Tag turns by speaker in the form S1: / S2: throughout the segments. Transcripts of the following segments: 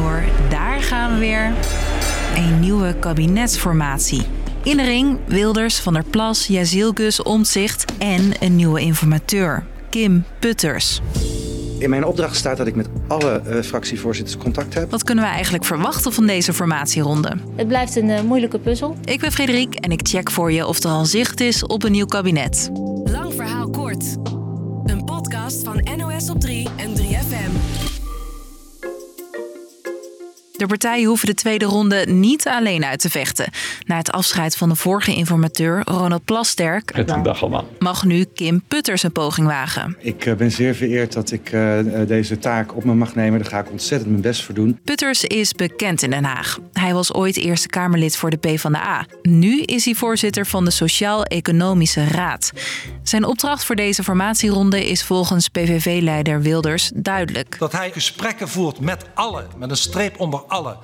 S1: hoor, daar gaan we weer. Een nieuwe kabinetsformatie. In de ring Wilders, Van der Plas, Jazilgus, Omtzigt en een nieuwe informateur, Kim Putters.
S2: In mijn opdracht staat dat ik met alle eh, fractievoorzitters contact heb.
S1: Wat kunnen we eigenlijk verwachten van deze formatieronde?
S3: Het blijft een eh, moeilijke puzzel.
S1: Ik ben Frederik en ik check voor je of er al zicht is op een nieuw kabinet.
S4: Lang verhaal kort. Een podcast van NOS op 3 en 3FM.
S1: De partijen hoeven de tweede ronde niet alleen uit te vechten. Na het afscheid van de vorige informateur, Ronald Plasterk,
S5: Prettige dag allemaal.
S1: mag nu Kim Putters een poging wagen.
S2: Ik eh, ben zeer vereerd dat ik eh, eh, deze taak op me mag nemen. Daar ga ik ontzettend mijn best voor doen.
S1: Putters is bekend in Den Haag. Hij was ooit Eerste Kamerlid voor de PvdA. Nu is hij voorzitter van de Sociaal-Economische Raad. Zijn opdracht voor deze formatieronde is volgens PVV-leider Wilders duidelijk.
S6: dat hij gesprekken voert met alle, met een streep onder alle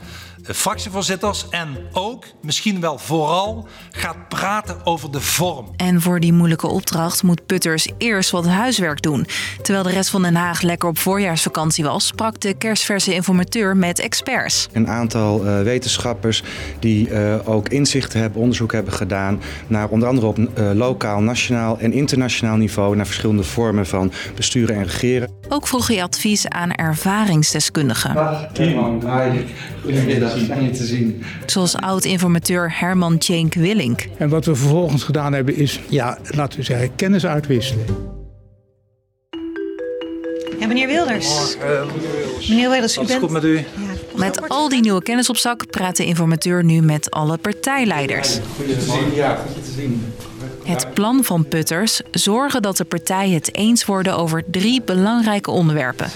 S6: eh, fractievoorzitters en ook, misschien wel vooral, gaat praten over de vorm.
S1: En voor die moeilijke opdracht moet Putters eerst wat huiswerk doen. Terwijl de rest van Den Haag lekker op voorjaarsvakantie was, sprak de kerstverse informateur met experts.
S2: Een aantal eh, wetenschappers die eh, ook inzichten hebben, onderzoek hebben gedaan naar onder andere op eh, lokaal, nationaal en internationaal niveau naar verschillende vormen van besturen en regeren.
S1: Ook vroeg hij advies aan ervaringsdeskundigen.
S2: Dag Kim, goedemiddag, fijn je te zien.
S1: Zoals oud-informateur Herman Tjenk Willink.
S7: En wat we vervolgens gedaan hebben is, ja, laten we zeggen, kennis uitwisselen.
S8: Ja, meneer Wilders. Meneer Wilders, u
S6: Alles
S8: bent...
S6: goed met u?
S8: Ja.
S1: Met al die nieuwe kennis op zak praat de informateur nu met alle partijleiders. Het plan van Putters zorgen dat de partijen het eens worden over drie belangrijke onderwerpen.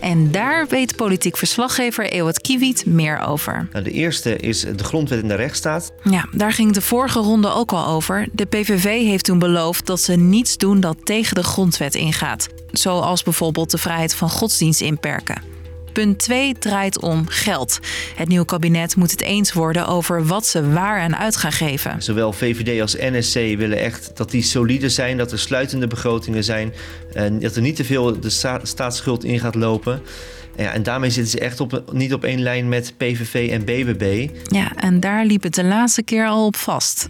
S1: En daar weet politiek verslaggever Ewart Kiewiet meer over.
S9: Nou, de eerste is de grondwet en de rechtsstaat.
S1: Ja, daar ging de vorige ronde ook al over. De PVV heeft toen beloofd dat ze niets doen dat tegen de grondwet ingaat. Zoals bijvoorbeeld de vrijheid van godsdienst inperken. Punt 2 draait om geld. Het nieuwe kabinet moet het eens worden over wat ze waar aan uit gaan geven.
S9: Zowel VVD als NSC willen echt dat die solide zijn, dat er sluitende begrotingen zijn, en dat er niet te veel de sta- staatsschuld in gaat lopen. En Ja, en daarmee zitten ze echt op, niet op één lijn met PVV en BBB.
S1: Ja, en daar liep het de laatste keer al op vast.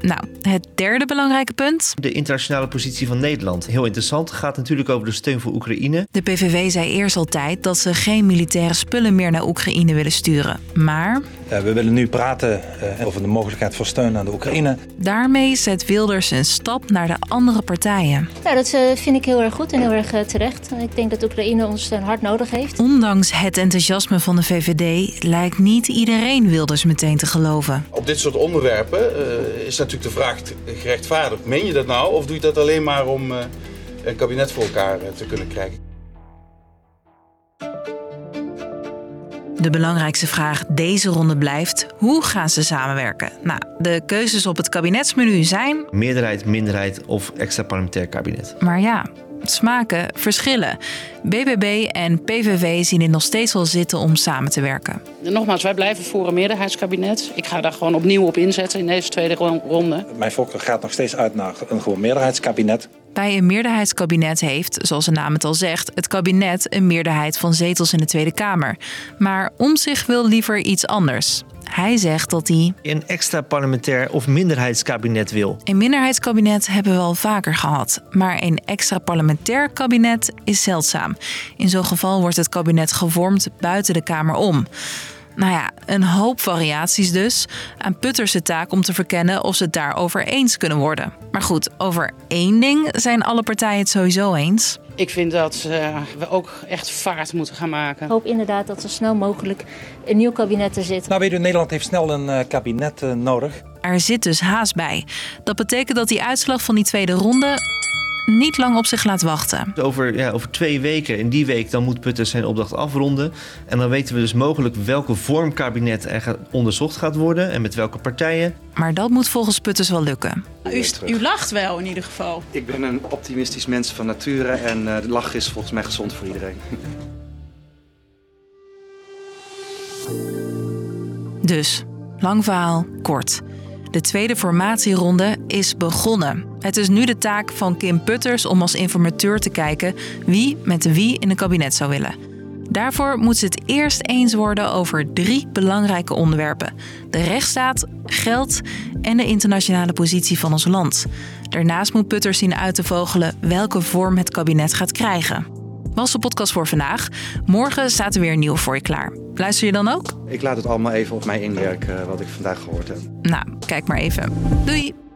S1: Nou, het derde belangrijke punt.
S9: De internationale positie van Nederland. Heel interessant. Het gaat natuurlijk over de steun voor Oekraïne.
S1: De PVV zei eerst altijd dat ze geen militaire spullen meer naar Oekraïne willen sturen. Maar
S6: we willen nu praten over de mogelijkheid voor steun aan de Oekraïne.
S1: daarmee zet Wilders een stap naar de andere partijen.
S3: Nou, dat eh, vind ik heel erg goed en heel erg eh, terecht. Ik denk dat Oekraïne ons steun hard nodig heeft.
S1: Ondanks het enthousiasme van de VVD lijkt niet iedereen Wilders meteen te geloven.
S10: Op dit soort onderwerpen eh, is natuurlijk de vraag t- gerechtvaardigd. Meen je dat nou of doe je dat alleen maar om eh, een kabinet voor elkaar eh, te kunnen krijgen?
S1: De belangrijkste vraag deze ronde blijft: hoe gaan ze samenwerken? Nou, de keuzes op het kabinetsmenu zijn
S9: Meerderheid, minderheid of extra parlementair kabinet.
S1: Maar ja, smaken verschillen. BBB en PVV zien het nog steeds wel zitten om samen te werken.
S11: Nogmaals, wij blijven voor een meerderheidskabinet. Ik ga daar gewoon opnieuw op inzetten in deze tweede ron- ronde.
S6: Mijn voorkeur gaat nog steeds uit naar een gewoon meerderheidskabinet.
S1: Bij een meerderheidskabinet heeft, zoals de naam het al zegt, het kabinet een meerderheid van zetels in de Tweede Kamer. Maar om zich wil liever iets anders. Hij zegt dat hij
S9: Een extra parlementair of minderheidskabinet wil.
S1: een minderheidskabinet hebben we al vaker gehad, maar een extra parlementair kabinet is zeldzaam. In zo'n geval wordt het kabinet gevormd buiten de Kamer om. Nou ja, een hoop variaties dus. Aan Putters de taak om te verkennen of ze het daarover eens kunnen worden. Maar goed, over één ding zijn alle partijen het sowieso eens.
S11: Ik vind dat eh, we ook echt vaart moeten gaan maken.
S3: Ik hoop inderdaad dat er snel mogelijk een nieuw kabinet er zit.
S6: Nou weet u, Nederland heeft snel een eh, kabinet eh, nodig.
S1: Er zit dus haast bij. Dat betekent dat die uitslag van die tweede ronde niet lang op zich laat wachten.
S9: Over, ja, over twee weken, in die week, dan moet Putters zijn opdracht afronden. En dan weten we dus mogelijk welke vorm kabinet er gaat, onderzocht gaat worden en met welke partijen.
S1: Maar dat moet volgens Putters wel lukken.
S2: U, lacht wel in ieder geval. Ik ben een optimistisch mens van nature en eh, de lach is volgens mij gezond voor iedereen.
S1: Dus, lang verhaal, kort. De tweede formatieronde is begonnen. Het is nu de taak van Kim Putters om als informateur te kijken wie met wie in het kabinet zou willen. Daarvoor moet ze het eerst eens worden over drie belangrijke onderwerpen: de rechtsstaat, geld en de internationale positie van ons land. Daarnaast moet Putters zien uit te vogelen welke vorm het kabinet gaat krijgen. Was de podcast voor vandaag. Morgen staat er weer een nieuwe voor je klaar. Luister je dan ook?
S2: Ik laat het allemaal even op mij inwerken wat ik vandaag gehoord heb.
S1: Nou, kijk maar even. Doei!